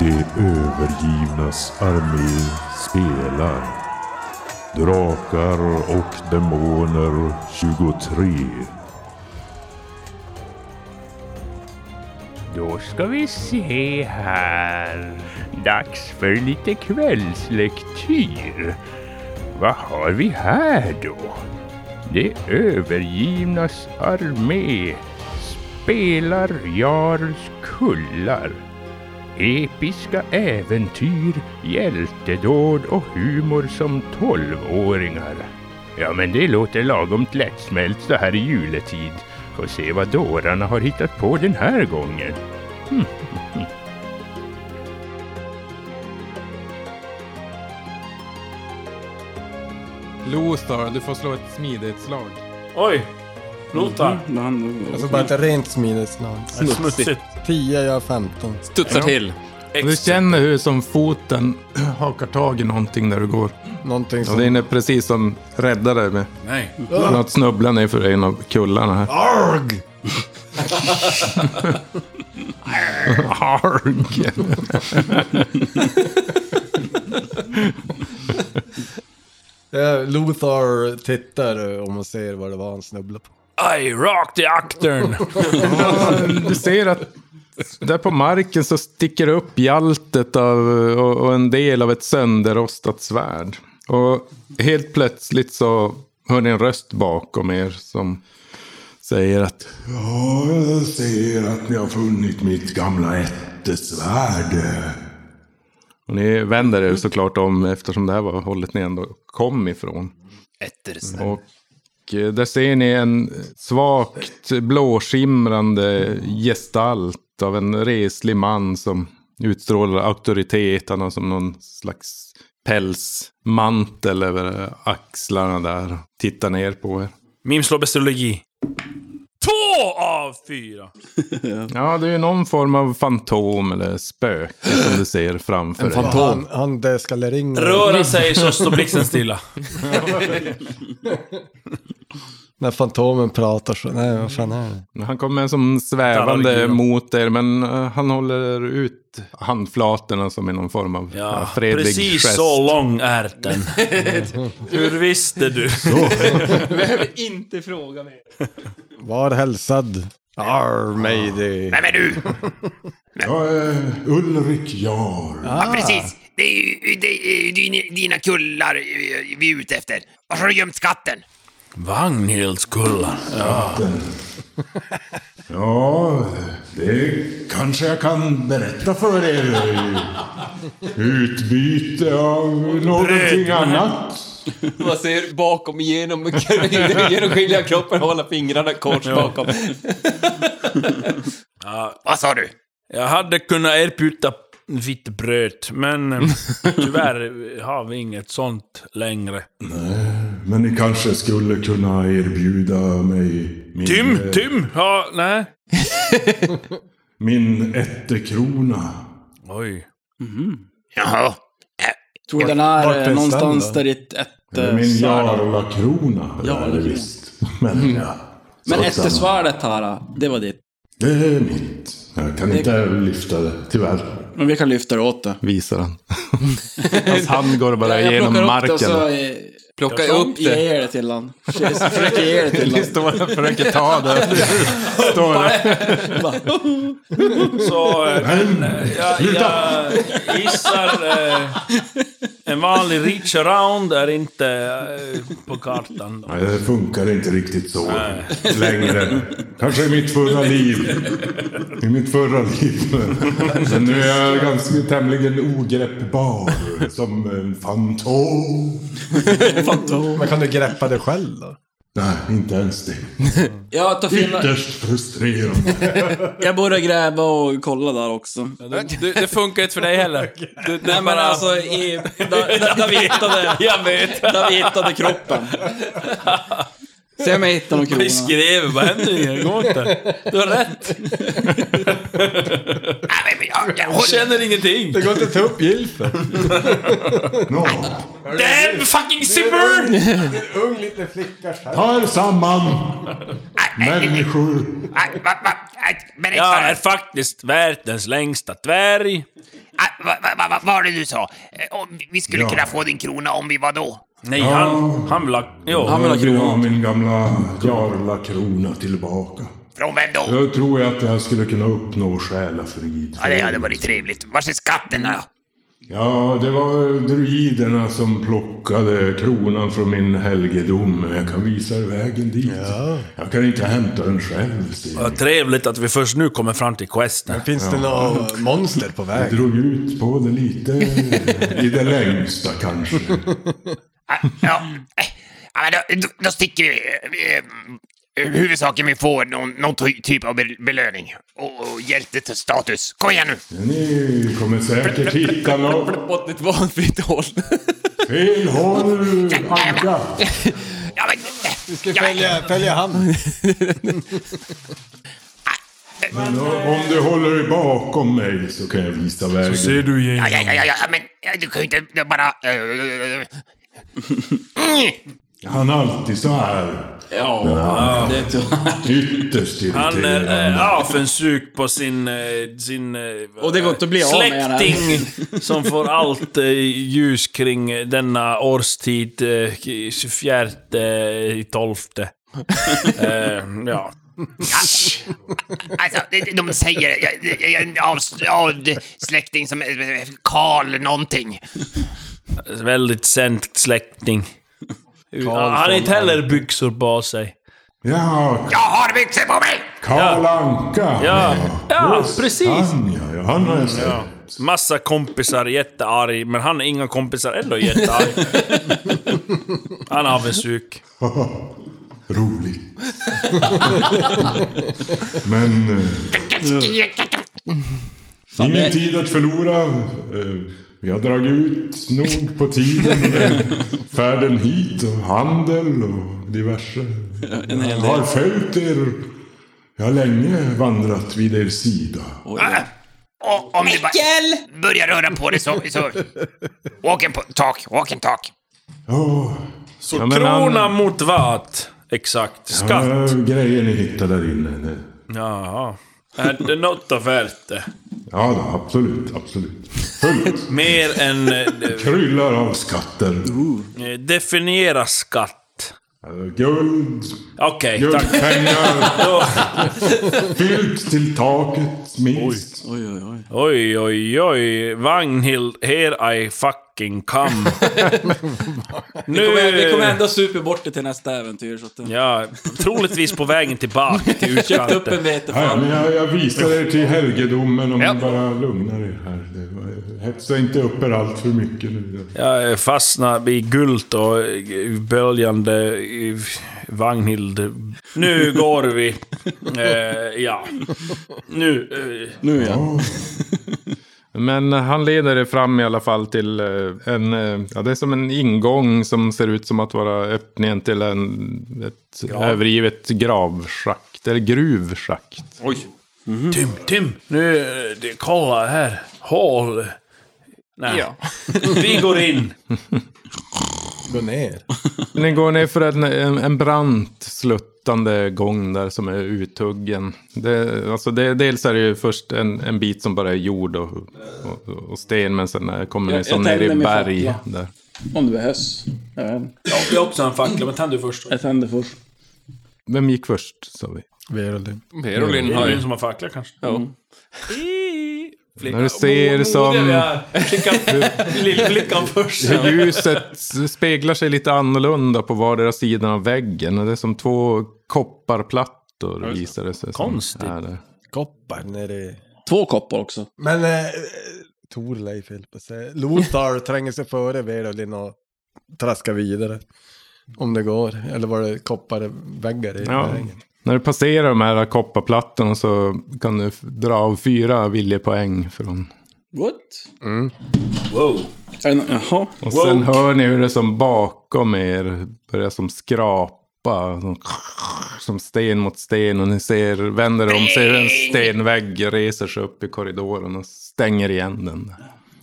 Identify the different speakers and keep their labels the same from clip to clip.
Speaker 1: De övergivnas armé spelar. Drakar och demoner 23.
Speaker 2: Då ska vi se här. Dags för lite kvällslektyr. Vad har vi här då? Det övergivnas armé spelar Jarls kullar. Episka äventyr, hjältedåd och humor som tolvåringar. Ja, men det låter lagom lättsmält så här i juletid. Får se vad dårarna har hittat på den här gången.
Speaker 3: Lothar, du får slå ett smidighetsslag.
Speaker 4: Oj! Lotar.
Speaker 5: Alltså bara ett rent smidighetsslag.
Speaker 4: Mm, Smutsigt. Smutsigt.
Speaker 5: 10, jag har 15.
Speaker 6: Studsar till.
Speaker 5: Du
Speaker 4: Ex-
Speaker 5: känner hur som foten hakar tag i någonting där du går. Någonting som... Och den är precis som räddar dig med.
Speaker 6: Nej.
Speaker 5: Något snubblar ner för en av kullarna här. Arg! Arg!
Speaker 7: Eh,
Speaker 5: Lothar tittar om och ser vad det var han snubblade på.
Speaker 6: Aj, rakt i aktern.
Speaker 5: Du ser att där på marken så sticker det upp hjaltet av, och, och en del av ett sönderrostat svärd. Och helt plötsligt så hör ni en röst bakom er som säger att
Speaker 1: Ja, jag ser att ni har funnit mitt gamla ättesvärd.
Speaker 5: och ni vänder er såklart om eftersom det här var hållet ni ändå kom ifrån.
Speaker 6: Ettersen.
Speaker 5: Och eh, där ser ni en svagt blåskimrande gestalt av en reslig man som utstrålar auktoritet. Han har som någon slags pälsmantel över axlarna där. Tittar ner på er.
Speaker 6: Mim slår bestiologi.
Speaker 4: Två av fyra!
Speaker 5: Ja, det är ju någon form av fantom eller spöke som du ser framför en dig.
Speaker 7: Han, han deskaleringar.
Speaker 4: Rör han sig så står blixten stilla.
Speaker 7: När Fantomen pratar så. Nej, vad fan är det?
Speaker 5: Han kommer som svävande
Speaker 4: Tarantino.
Speaker 5: mot er, men eh, han håller ut handflatorna som i någon form av ja,
Speaker 4: Ja,
Speaker 5: fredlig
Speaker 4: precis
Speaker 5: gest.
Speaker 4: så lång är den. Hur visste du?
Speaker 8: Behöver inte fråga mer.
Speaker 7: Var hälsad. Arr, mayday.
Speaker 2: Nej men du!
Speaker 1: Jag är eh, Ulrik Jarl.
Speaker 2: Ja, precis! Det är ju det är ju din- dina kullar eh, vi är ute efter. Var har du gömt skatten?
Speaker 4: Vagnhildskullar.
Speaker 1: Ja, det kanske jag kan berätta för er. Utbyte av någonting annat.
Speaker 8: Man ser bakom genom genomskinliga kroppen och hålla fingrarna kors bakom.
Speaker 2: Vad sa du?
Speaker 4: Jag hade kunnat erbjuda vitt bröd, men eh, tyvärr har vi inget sånt längre.
Speaker 1: Men ni kanske skulle kunna erbjuda mig min, eh,
Speaker 4: Tim, Tim! Ja, nej.
Speaker 1: min ättekrona.
Speaker 4: Oj.
Speaker 2: Jaha. Eh,
Speaker 9: Tror du den
Speaker 7: vart
Speaker 9: är
Speaker 7: finns
Speaker 9: eh, någonstans
Speaker 7: den då?
Speaker 9: där ditt eh,
Speaker 1: Eller min
Speaker 9: ättesvärd...
Speaker 1: jarlakrona. Eh, Ja, det är det visst. Men ja.
Speaker 9: Men
Speaker 1: Sådana.
Speaker 9: ättesvärdet här, det var ditt.
Speaker 1: Det är mitt. Jag kan inte lyfta det, tyvärr.
Speaker 9: Men vi kan lyfta det åt dig.
Speaker 5: Visar han. Hans hand går bara
Speaker 9: Jag
Speaker 5: genom
Speaker 9: plockar upp det
Speaker 5: marken.
Speaker 9: och så
Speaker 5: Och
Speaker 9: eh,
Speaker 6: Plocka upp det.
Speaker 9: ger jag det till han. Jag Försöker ge det till han.
Speaker 5: står och försöker ta det. Står där.
Speaker 4: Så, eh, men, eh, jag, jag gissar... Eh, en vanlig reach around är inte eh, på kartan.
Speaker 1: Nej, det eh, funkar inte riktigt så längre. Kanske i mitt förra liv. I mitt förra liv. Men nu är jag ganska tämligen ogreppbar. Som en fantom.
Speaker 7: Men kan du greppa det själv då?
Speaker 1: Nej, inte ens det.
Speaker 9: Jag tar fina...
Speaker 1: Ytterst frustrerande.
Speaker 9: Jag börjar gräva och kolla där också.
Speaker 6: Du, du, det funkar inte för dig heller. Du,
Speaker 9: Nej men alltså, i, där, där, där vi hittade... Jag vet! Där vi hittade kroppen. Se om jag hittar någon krona.
Speaker 4: Beskrev, vad händer? Det går inte. Du har rätt.
Speaker 2: nej, men jag, jag håller...
Speaker 4: Känner ingenting.
Speaker 7: Det går inte att ta upp Gilfer.
Speaker 1: Nå,
Speaker 4: Damn fucking zipper!
Speaker 7: Ung liten flicka själv.
Speaker 1: ta er samman. Människor.
Speaker 2: Nej, va- va- nej, Berätta.
Speaker 4: Jag är faktiskt världens längsta dvärg.
Speaker 10: Ah, va- va- va- va- Vad var det du sa? Eh, om Vi skulle
Speaker 1: Ja.
Speaker 10: kunna få din krona om vi var då?
Speaker 4: Nej, han, han vill ha... Jo.
Speaker 1: Jag vill ha min gamla jarlakrona tillbaka.
Speaker 10: Från vem då?
Speaker 1: Jag tror att jag skulle kunna uppnå själafrid.
Speaker 10: Ja, det hade varit trevligt. Var är skatten då?
Speaker 1: Ja, det var druiderna som plockade kronan från min helgedom. men Jag kan visa er vägen dit. Jag kan inte hämta den själv. ser ni.
Speaker 4: Vad trevligt att vi först nu kommer fram till questen.
Speaker 1: Finns det Ja. några
Speaker 7: monster på
Speaker 1: Jag drog ut på det lite, i det längsta kanske.
Speaker 10: Ja, eh, ja men då, då, då sticker vi. Eh, eh, Huvudsaken vi får någon, någon ty- typ av bel- belöning. Och, och hjältestatus. Kom igen nu!
Speaker 1: Ni kommer säkert hitta något.
Speaker 10: Åt ett vanligt håll.
Speaker 1: Fel håll, Anka!
Speaker 10: eh,
Speaker 7: Vi ska följa, följa han.
Speaker 1: Men om du håller dig bakom mig så kan jag visa vägen. Så ser
Speaker 4: du
Speaker 10: Ja, ja, ja, ja, ja, men eh, du kan ju inte bara... eh, eh, eh. Mm.
Speaker 1: Han är alltid så här.
Speaker 4: Ja,
Speaker 1: Ja.
Speaker 4: det tror
Speaker 1: Ytterst
Speaker 4: Han är
Speaker 1: irriterande.
Speaker 4: eh, avundsjuk på sin... eh, sin eh,
Speaker 9: Och det går inte att bli av med den
Speaker 4: Släkting
Speaker 9: här.
Speaker 4: som får allt eh, ljus kring eh, denna årstid, eh, 24 i 12. eh, ja.
Speaker 10: Alltså, de, de säger... Jag, jag, jag är en avs- avsläkting som... eh, Karl någonting.
Speaker 4: Väldigt sänkt släkting.
Speaker 10: Karl
Speaker 4: Han har
Speaker 10: von
Speaker 4: inte heller byxor på sig.
Speaker 1: Ja,
Speaker 10: Jag har byxor på mig!
Speaker 1: Karl Anka!
Speaker 4: Ja, ja
Speaker 1: Just
Speaker 4: precis!
Speaker 1: Han ja, ja, han har jag sett.
Speaker 4: Ja. Massa kompisar, jättearg, men han har inga kompisar, ändå jättearg. han är avundsjuk.
Speaker 1: Rolig. Men... eh,
Speaker 4: Fan,
Speaker 1: ingen
Speaker 4: det-
Speaker 1: tid att förlora. Eh, Vi har dragit ut nog på tiden. med Färden hit och handel och diverse.
Speaker 6: en hel
Speaker 1: Jag
Speaker 6: del.
Speaker 1: har följt er. Jag har länge vandrat vid er sida.
Speaker 10: Eh, Och om du bara börjar röra på dig så... så walk and po- talk, walk and talk.
Speaker 4: Så
Speaker 1: Ja, men han-
Speaker 4: krona mot vad? Exakt. Skatt.
Speaker 1: Ja, grejer ni hittar där inne. det-
Speaker 4: Jaha. Är det något av värt det?
Speaker 1: Ja, då, absolut, absolut. Fullt.
Speaker 4: Mer än... eh,
Speaker 1: Kryllar av skatter.
Speaker 4: eh, Definiera skatt.
Speaker 1: Guld.
Speaker 4: Okej,
Speaker 1: Guld,
Speaker 4: tack.
Speaker 1: pengar.
Speaker 4: Då-
Speaker 1: Fyllt till taket, minst.
Speaker 4: Oj, oj, oj. Oj, oj, oj. Vagnhild, here I fucking come.
Speaker 9: Vi kommer, vi
Speaker 4: Eh.
Speaker 9: kommer ändå super bort det till nästa äventyr. Så att,
Speaker 4: Ja, troligtvis på vägen tillbaka till
Speaker 9: Köpt upp
Speaker 4: utkanten.
Speaker 9: en
Speaker 1: Ja, men
Speaker 9: vetefall.
Speaker 1: jag, jag visar er till helgedomen om ni bara lugnar er här. Det var- Hetsa inte upp er allt för mycket nu.
Speaker 4: Jag fastnar i guld och eh, böljande eh, Vagnhild. Nu går vi. Eh, ja. Nu. Eh.
Speaker 9: Nu
Speaker 1: ja.
Speaker 5: Men han leder er fram i alla fall till eh, en, eh, ja det är som en ingång som ser ut som att vara öppningen till en, ett övergivet gravschakt, eller gruvschakt.
Speaker 4: Oj. Tim, Tim. Nu, eh, det- kolla här. Hål. Nej.
Speaker 9: Ja.
Speaker 4: Vi går in.
Speaker 7: Gå ner.
Speaker 5: Ni går ner för en, en, en brant sluttande gång där som är uthuggen. Det, alltså det, dels är det ju först en, en bit som bara är jord och, och, och sten men sen eh, kommer
Speaker 9: Jag-
Speaker 5: ni som
Speaker 9: jag
Speaker 5: ner i
Speaker 9: tänder min
Speaker 5: berg.
Speaker 9: fackla.
Speaker 5: Där.
Speaker 9: Om det behövs. Jag vet inte.
Speaker 4: Jag har också en fackla, men tänd du först.
Speaker 9: Jag tänder först.
Speaker 5: Vem gick först sa vi?
Speaker 7: Verolin.
Speaker 4: Det är du som har fackla kanske.
Speaker 5: Mm.
Speaker 9: Jo.
Speaker 5: När du ser som...
Speaker 4: Lillflickan först.
Speaker 5: Hur ljuset speglar sig lite annorlunda på vardera sidan av väggen. Och Det är som två kopparplattor visar det sig. som
Speaker 7: Konstigt.
Speaker 5: är där.
Speaker 7: Koppar nere i...
Speaker 9: Två koppar också.
Speaker 7: Men... Eh, Torleif höll på att säga. Lothar tränger sig före Verolin och traskar vidare. Om det går. Eller var det kopparväggar i
Speaker 5: Ja.
Speaker 7: vägen?
Speaker 5: När du passerar de här kopparplattorna så kan du f- dra av fyra viljepoäng från...
Speaker 9: What?
Speaker 5: Mm.
Speaker 4: Wow.
Speaker 9: En, jaha.
Speaker 5: Och sen hör ni hur det som bakom er börjar som skrapa. Som, som sten mot sten och ni ser, vänder om sig, en stenvägg reser sig upp i korridoren och stänger igen den.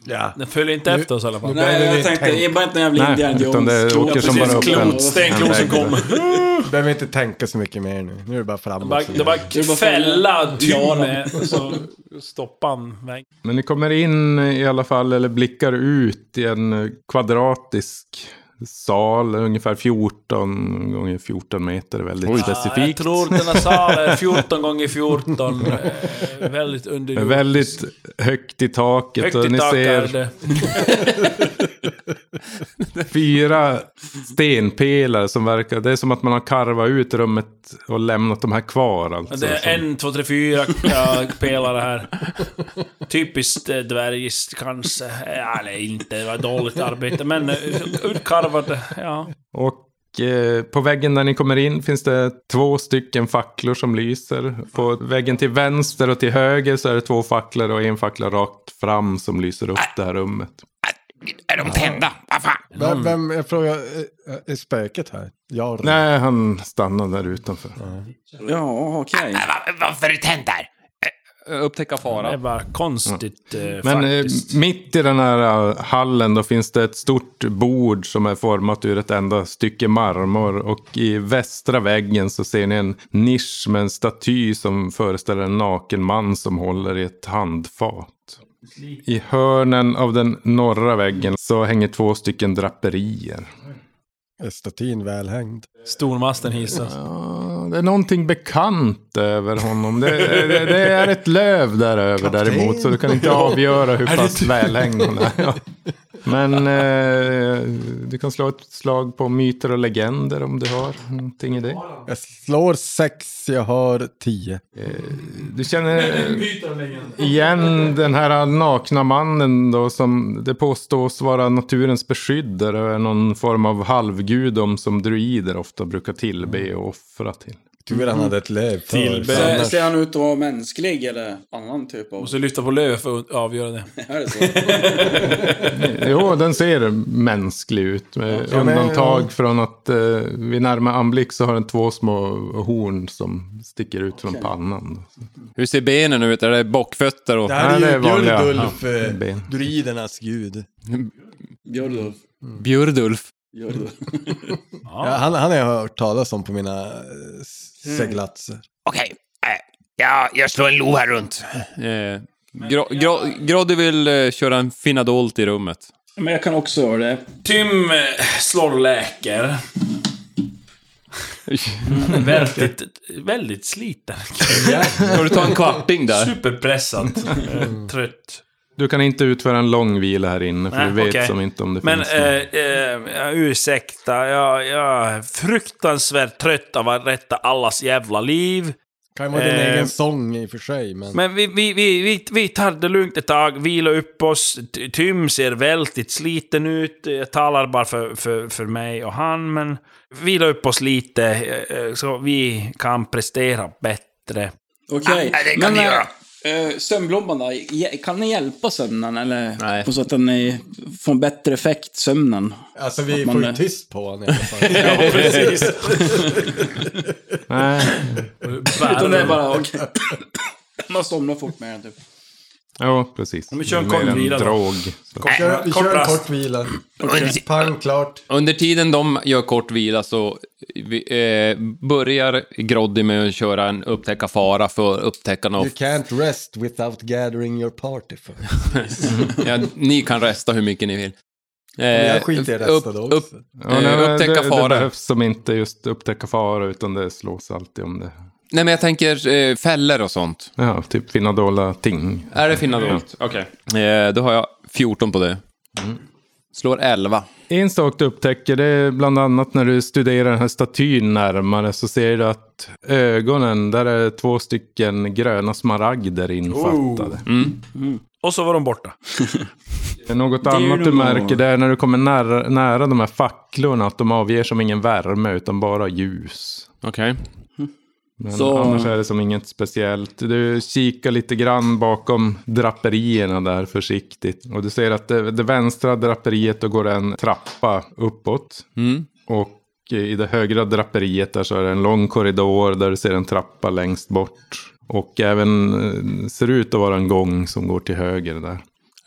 Speaker 4: Ja. Den följer inte efter oss i alla fall.
Speaker 9: Nej, jag tänkte, det är bara inte en jävla Indian Jones.
Speaker 5: utan det åker som bara upp en-
Speaker 9: Klot, stenklot som kommer.
Speaker 7: Behöver inte tänka så mycket mer nu. Nu är det bara framåt.
Speaker 4: Bara, det bara fälla
Speaker 9: Ja,
Speaker 4: Tyne och så stoppar han vägen.
Speaker 5: Men ni kommer in i alla fall, eller blickar ut i en kvadratisk sal, ungefär 14 gånger 14 meter, väldigt
Speaker 4: Ja, jag
Speaker 5: specifikt.
Speaker 4: tror den här salen är 14 gånger 14. eh, Väldigt underjord.
Speaker 5: Väldigt högt i taket
Speaker 4: Högt
Speaker 5: och
Speaker 4: i
Speaker 5: ni
Speaker 4: tak är
Speaker 5: ser
Speaker 4: det.
Speaker 5: fyra stenpelare som verkar, det är som att man har karvat ut rummet och lämnat de här kvar alltså.
Speaker 4: Det är en, två, tre, fyra ja, pelare här. Typiskt eh, dvärgiskt kanske. Ja, Eller inte, det var dåligt arbete. Men eh, utkarvade, ja.
Speaker 5: Och eh, på väggen där ni kommer in finns det två stycken facklor som lyser. På väggen till vänster och till höger så är det två facklor och en fackla rakt fram som lyser upp
Speaker 4: Äh.
Speaker 5: det här rummet.
Speaker 10: Är de tända? Vad fan?
Speaker 7: Vem, vem, jag frågar, är, är spöket här? Jarl?
Speaker 5: Nej, han stannar där utanför.
Speaker 9: Ja, okej.
Speaker 10: Ah, va- Varför är det tänt där?
Speaker 8: Upptäcka fara.
Speaker 4: Det är bara konstigt eh,
Speaker 5: Men eh,
Speaker 4: faktiskt.
Speaker 5: mitt i den här eh, hallen då finns det ett stort bord som är format ur ett enda stycke marmor. Och i västra väggen så ser ni en nisch med en staty som föreställer en naken man som håller i ett handfat. I hörnen av den norra väggen så hänger två stycken draperier.
Speaker 7: Är statyn välhängd?
Speaker 4: Stormasten hissas.
Speaker 5: Ja, Det är någonting bekant över honom. Det, det, det är ett löv där över däremot. Så du kan inte avgöra hur pass välhängd hon är. Ja. Men eh, du kan slå ett slag på myter och legender om du har någonting i det.
Speaker 7: Jag slår sex, jag har tio.
Speaker 5: Du känner igen den här nakna mannen då som det påstås vara naturens beskyddare och är någon form av halvgudom som druider ofta brukar tillbe och offra till.
Speaker 7: Tur han hade ett löv för,
Speaker 4: Tillbe.
Speaker 7: för
Speaker 9: Ser-
Speaker 7: annars-
Speaker 9: Ser han ut att vara mänsklig eller annan typ av...
Speaker 4: Måste lyfta på löv för att avgöra det.
Speaker 9: Är det så?
Speaker 5: Jo, den ser mänsklig ut. Med
Speaker 7: Ja, men-
Speaker 5: undantag från att eh, vid närmare anblick så har den två små horn som sticker ut från pannan.
Speaker 8: Hur ser benen ut? Är det bockfötter och...
Speaker 7: Det här
Speaker 5: Nej,
Speaker 7: är
Speaker 5: det
Speaker 7: ju
Speaker 5: är vanliga.
Speaker 7: Björnulf,
Speaker 5: Ja,
Speaker 7: eh,
Speaker 5: ben.
Speaker 7: druidernas gud.
Speaker 9: Björlulf.
Speaker 8: Bjurdulf.
Speaker 9: Björlulf.
Speaker 7: Ja, han, han har jag hört talas om på mina eh, seglatser.
Speaker 10: Okej, eh, jag, jag slår en lo här runt.
Speaker 8: Eh, Gro- Gro- Groddy vill eh, köra en finadolt i rummet.
Speaker 9: Men jag kan också göra det.
Speaker 4: Tim eh, slår läker. Mm, väldigt, väldigt sliten.
Speaker 8: Ska du ta en kvarting där?
Speaker 4: Superpressad.
Speaker 5: Mm.
Speaker 4: Eh, Trött.
Speaker 5: Du kan inte utföra en lång vila här inne för
Speaker 4: Nej,
Speaker 5: du vet
Speaker 4: okej.
Speaker 5: som inte om det
Speaker 4: Men
Speaker 5: finns
Speaker 4: eh, eh, ursäkta, jag, jag är fruktansvärt trött av att rätta allas jävla liv.
Speaker 7: Kan ju vara din
Speaker 4: Eh,
Speaker 7: egen sång i och för sig, men...
Speaker 4: Men vi, vi, vi, vi, vi tar det lugnt ett tag, vilar upp oss. Ty- Tym ser väldigt sliten ut. Jag talar bara för, för, för mig och han, men vila upp oss lite eh, eh, så vi kan prestera bättre.
Speaker 9: Okej.
Speaker 10: Ah, det kan ni
Speaker 9: eh,
Speaker 10: göra.
Speaker 9: eh, Sömnblomman då? Ge- Kan ni hjälpa sömnen eller?
Speaker 8: Nej.
Speaker 9: På så att ni får en bättre effekt, sömnen.
Speaker 7: alltså vi
Speaker 9: man
Speaker 7: får ju
Speaker 9: är-
Speaker 7: tyst på honom i alla fall.
Speaker 5: Nej.
Speaker 9: Utan det är bara okej. Man somnar fort med den typ.
Speaker 5: Ja, precis.
Speaker 4: vi kör en
Speaker 5: Mer
Speaker 4: kort
Speaker 5: än
Speaker 4: vila då.
Speaker 5: drog. Så.
Speaker 7: Vi kör, vi
Speaker 4: Kort
Speaker 7: kör en
Speaker 4: rast.
Speaker 7: kort vila. Pang, klart.
Speaker 8: Under tiden de gör kort vila så vi, eh, börjar Groddy med att köra en upptäcka fara för upptäckarna.
Speaker 7: You
Speaker 8: Och,
Speaker 7: can't rest without gathering your party first.
Speaker 8: ja, ni kan resta hur mycket ni vill. Eh,
Speaker 7: jag skiter i att resta då också.
Speaker 4: eh,
Speaker 5: Ja, nej, men
Speaker 8: upptäcka
Speaker 5: det,
Speaker 8: fara.
Speaker 5: Det behövs som inte just upptäcka fara utan det slås alltid om det.
Speaker 8: Nej, men jag tänker eh, fällor och sånt.
Speaker 5: Ja, typ finna dolda ting.
Speaker 8: Är det finadolt? Mm. Okej. Mm. Eh, då har jag 14 på det. Slår 11.
Speaker 5: En sak du upptäcker det är bland annat när du studerar den här statyn närmare så ser du att ögonen, där är två stycken gröna smaragder infattade.
Speaker 4: Och så var de borta.
Speaker 5: Något annat du märker det är när du kommer nära, nära de här facklorna att de avger som ingen värme utan bara ljus.
Speaker 8: Okej.
Speaker 5: Men
Speaker 9: Så-
Speaker 5: annars är det som inget speciellt. Du kikar lite grann bakom draperierna där försiktigt. Och du ser att det, det vänstra draperiet då går det en trappa uppåt.
Speaker 8: Mm.
Speaker 5: Och i det högra draperiet där så är det en lång korridor där du ser en trappa längst bort. Och även eh, ser ut att vara en gång som går till höger där.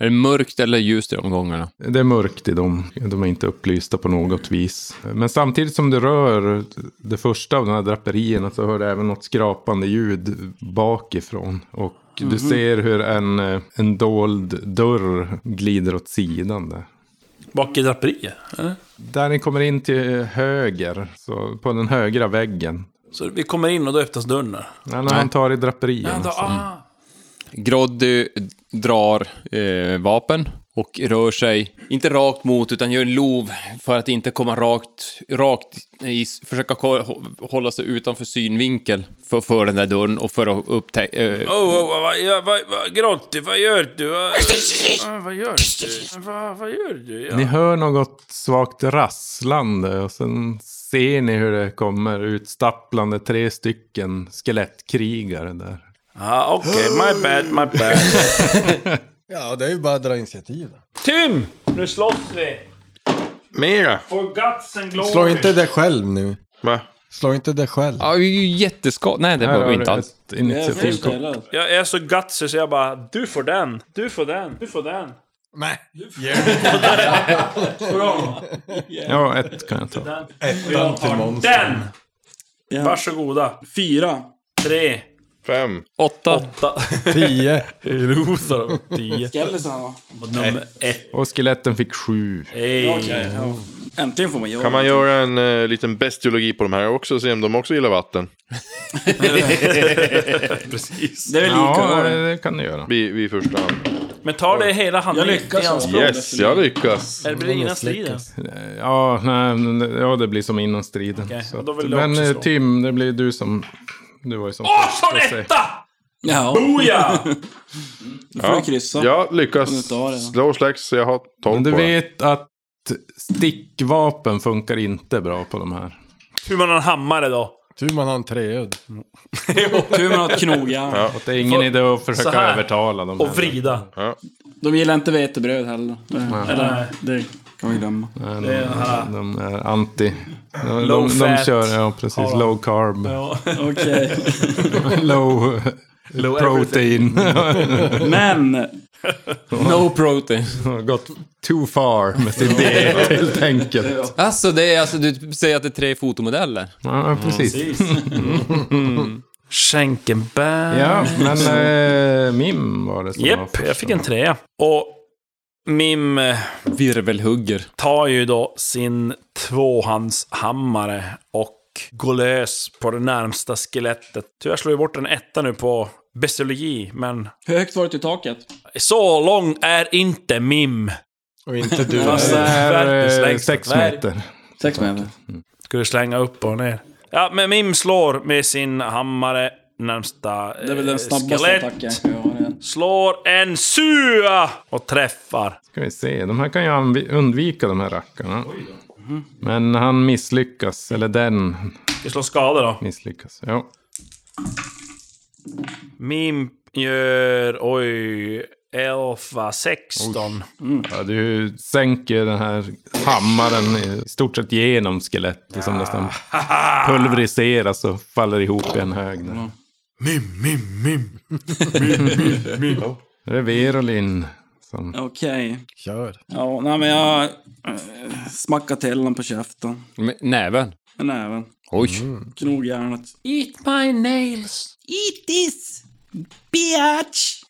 Speaker 8: Är det mörkt eller ljust i omgångarna?
Speaker 5: Det är mörkt i dem. De är inte upplysta på något vis. Men samtidigt som du rör det första av de här draperierna så hör du även något skrapande ljud bakifrån. Och
Speaker 8: Mhm.
Speaker 5: du ser hur en, eh, en dold dörr glider åt sidan där.
Speaker 4: Bak i draperiet? eller?
Speaker 5: Där ni kommer in till höger, så på den högra väggen.
Speaker 4: Så vi kommer in och då öppnas dörren där.
Speaker 5: Ja, när han tar i draperierna.
Speaker 4: Ja, då,
Speaker 5: så-
Speaker 4: ah.
Speaker 8: Groddy drar eh, vapen och rör sig, inte rakt mot, utan gör en lov för att inte komma rakt, rakt i, försöka ko- hå- hålla sig utanför synvinkel för, för den där dörren och för att upptäcka... Eh,
Speaker 4: Oh, oh, oh, vad, ja, vad, vad, Grotti, vad gör du? Vad, ah, vad gör du? Vad, vad gör du? Ja.
Speaker 5: Ni hör något svagt rasslande och sen ser ni hur det kommer utstapplande tre stycken skelettkrigare där.
Speaker 4: Ah, Okej, my bad, my bad.
Speaker 7: Ja, det är ju bara att dra initiativ.
Speaker 4: Tim! Nu slåss vi!
Speaker 7: Mera!
Speaker 4: For guts and glory!
Speaker 7: Slå inte det själv nu.
Speaker 5: Va?
Speaker 7: Slå inte det själv.
Speaker 8: Ja, vi är ju jätteskad... Nej, det
Speaker 7: Här
Speaker 8: var
Speaker 7: har
Speaker 8: vi
Speaker 7: du
Speaker 8: inte alls.
Speaker 7: ett initiativ.
Speaker 4: Jag är- Jag är så gutsy så jag bara, du får den, du får den, du får den.
Speaker 7: Nej.
Speaker 4: Du får den. Bra.
Speaker 5: Ja, ett kan jag ta.
Speaker 4: Och jag tar den! Varsågoda. Fyra. Tre.
Speaker 11: Fem.
Speaker 8: Åtta.
Speaker 4: Åtta.
Speaker 7: Tio.
Speaker 4: Rosar dem. Tio.
Speaker 9: Skellisarna va?
Speaker 4: Nummer ett.
Speaker 5: Och skeletten fick sju.
Speaker 4: Hej.
Speaker 9: Okej, ja. Äntligen får man göra
Speaker 11: Kan man göra en eh, liten bestiologi på de här också och se om de också gillar vatten?
Speaker 4: Precis.
Speaker 9: Det är väl lika bra.
Speaker 5: det kan du göra.
Speaker 11: Vi, vi i första hand.
Speaker 4: Men ta det hela handen.
Speaker 9: Jag lyckas,
Speaker 4: i anspråk.
Speaker 11: Yes, jag lyckas.
Speaker 4: Eller blir det innan striden?
Speaker 5: Ja, nej, men det- ja, det blir som innan striden.
Speaker 4: Okej,
Speaker 5: Så
Speaker 4: och då
Speaker 5: att-
Speaker 4: vill jag
Speaker 5: men
Speaker 4: också
Speaker 5: eh,
Speaker 4: slå.
Speaker 5: Tim, det blir du som... Du var ju som...
Speaker 4: Åh,
Speaker 5: först,
Speaker 4: så
Speaker 5: så att säga.
Speaker 4: etta!
Speaker 9: Ja.
Speaker 4: Boja!
Speaker 9: Då får du kryssa.
Speaker 11: Jag
Speaker 9: Om du inte
Speaker 11: lyckas.
Speaker 9: har det.
Speaker 11: Slå slags, så jag har
Speaker 5: Men
Speaker 11: 12
Speaker 5: du
Speaker 11: på den.
Speaker 5: vet att stickvapen funkar inte bra på de här.
Speaker 4: Hur man har en hammare då?
Speaker 7: Tur man har en treudd.
Speaker 9: Tur man har ett knogjärn.
Speaker 11: Ja.
Speaker 5: Och det är ingen idé att
Speaker 4: Så
Speaker 5: försöka
Speaker 4: här.
Speaker 5: övertala dem.
Speaker 4: Och
Speaker 5: heller.
Speaker 4: vrida.
Speaker 11: Ja.
Speaker 9: De gillar inte vetebröd heller. Det,
Speaker 4: Nej.
Speaker 9: Eller, det kan vi glömma.
Speaker 5: Nej,
Speaker 4: Det är den här-
Speaker 5: de, de är anti. De,
Speaker 4: Low
Speaker 5: de, de
Speaker 4: fat.
Speaker 5: kör, ja precis,
Speaker 4: Har de.
Speaker 5: low carb,
Speaker 4: Ja.
Speaker 9: Okej.
Speaker 5: low, low protein.
Speaker 9: Men,
Speaker 8: No protein.
Speaker 5: Har Gått too far med sin diet helt enkelt.
Speaker 8: Alltså, det är, alltså, du säger att det är tre fotomodeller?
Speaker 5: Ja, precis.
Speaker 4: Schenkenberg.
Speaker 5: Ja, men eh, Mim var det som var
Speaker 4: Japp,
Speaker 5: först.
Speaker 4: jag fick en trea. Och Mim eh,
Speaker 8: Virvelhugger.
Speaker 4: tar ju då sin tvåhandshammare och går lös på det närmsta skelettet. Tyvärr slår jag bort en etta nu på bestiologi, men
Speaker 9: hur högt var det till taket?
Speaker 4: så lång är inte Mim.
Speaker 7: Och inte du.
Speaker 5: Det är eh, sex meter.
Speaker 9: Sex meter.
Speaker 4: Skulle slänga upp och ner. Ja, men Mim slår med sin hammare närmsta eh,
Speaker 9: Det är väl den snabbaste attacken jag kan göra. igen.
Speaker 4: Slår en sua och träffar.
Speaker 5: Ska vi se, de här kan ju anvi- undvika de här rackarna. Men han misslyckas, eller den
Speaker 4: Vi slår skada då.
Speaker 5: misslyckas. Ja.
Speaker 4: Mim gör, oj, elfa 16.
Speaker 5: Ja, du sänker den här hammaren i stort sett genom skelettet som nästan pulveriseras och faller ihop i en hög. Där. Mim, mim, mim. mim, mim, mim. Det är Verolin som...
Speaker 9: Okej.
Speaker 7: Kör.
Speaker 9: Ja, nej men jag eh, smackar till honom på käften.
Speaker 8: Med näven.
Speaker 9: Med näven. Mm.
Speaker 8: Oj.
Speaker 9: Knogjärnet. Eat my nails. Eat this. Bitch.